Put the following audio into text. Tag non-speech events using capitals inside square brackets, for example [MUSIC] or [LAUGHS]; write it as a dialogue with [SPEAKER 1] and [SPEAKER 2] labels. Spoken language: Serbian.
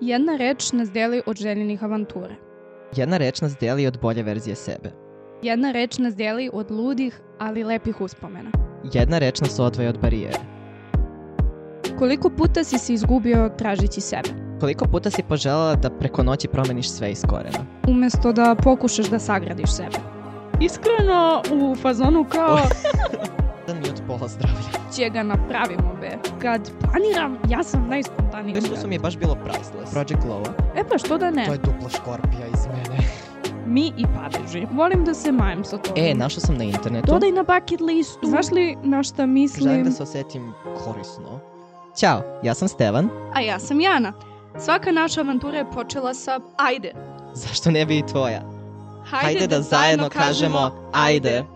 [SPEAKER 1] Jedna reč nas deli od željenih avantura.
[SPEAKER 2] Jedna reč nas deli od bolje verzije sebe.
[SPEAKER 1] Jedna reč nas deli od ludih, ali lepih uspomena.
[SPEAKER 2] Jedna reč nas odvaja od barijere.
[SPEAKER 1] Koliko puta si se izgubio tražeći sebe?
[SPEAKER 2] Koliko puta si poželjela da preko noći promeniš sve iz korena?
[SPEAKER 1] Umesto da pokušaš da sagradiš sebe. Iskreno, u fazonu kao
[SPEAKER 2] Da mi od
[SPEAKER 1] [LAUGHS]
[SPEAKER 2] pola zdravlja.
[SPEAKER 1] čega napravimo be. Kad planiram, ja sam najspontaniji.
[SPEAKER 2] Nešto su mi je baš bilo priceless. Project Glow-a.
[SPEAKER 1] E pa što da ne?
[SPEAKER 2] je dupla škorpija iz mene.
[SPEAKER 1] Mi i padeži. Volim da se majem sa tobom.
[SPEAKER 2] E, našla sam na internetu.
[SPEAKER 1] Dodaj na bucket listu. Znaš li na šta mislim?
[SPEAKER 2] Želim da se osjetim korisno. Ćao, ja sam Stevan.
[SPEAKER 1] A ja sam Jana. Svaka naša avantura je počela sa ajde.
[SPEAKER 2] Zašto ne bi i tvoja? Hajde, da, zajedno kažemo, ajde.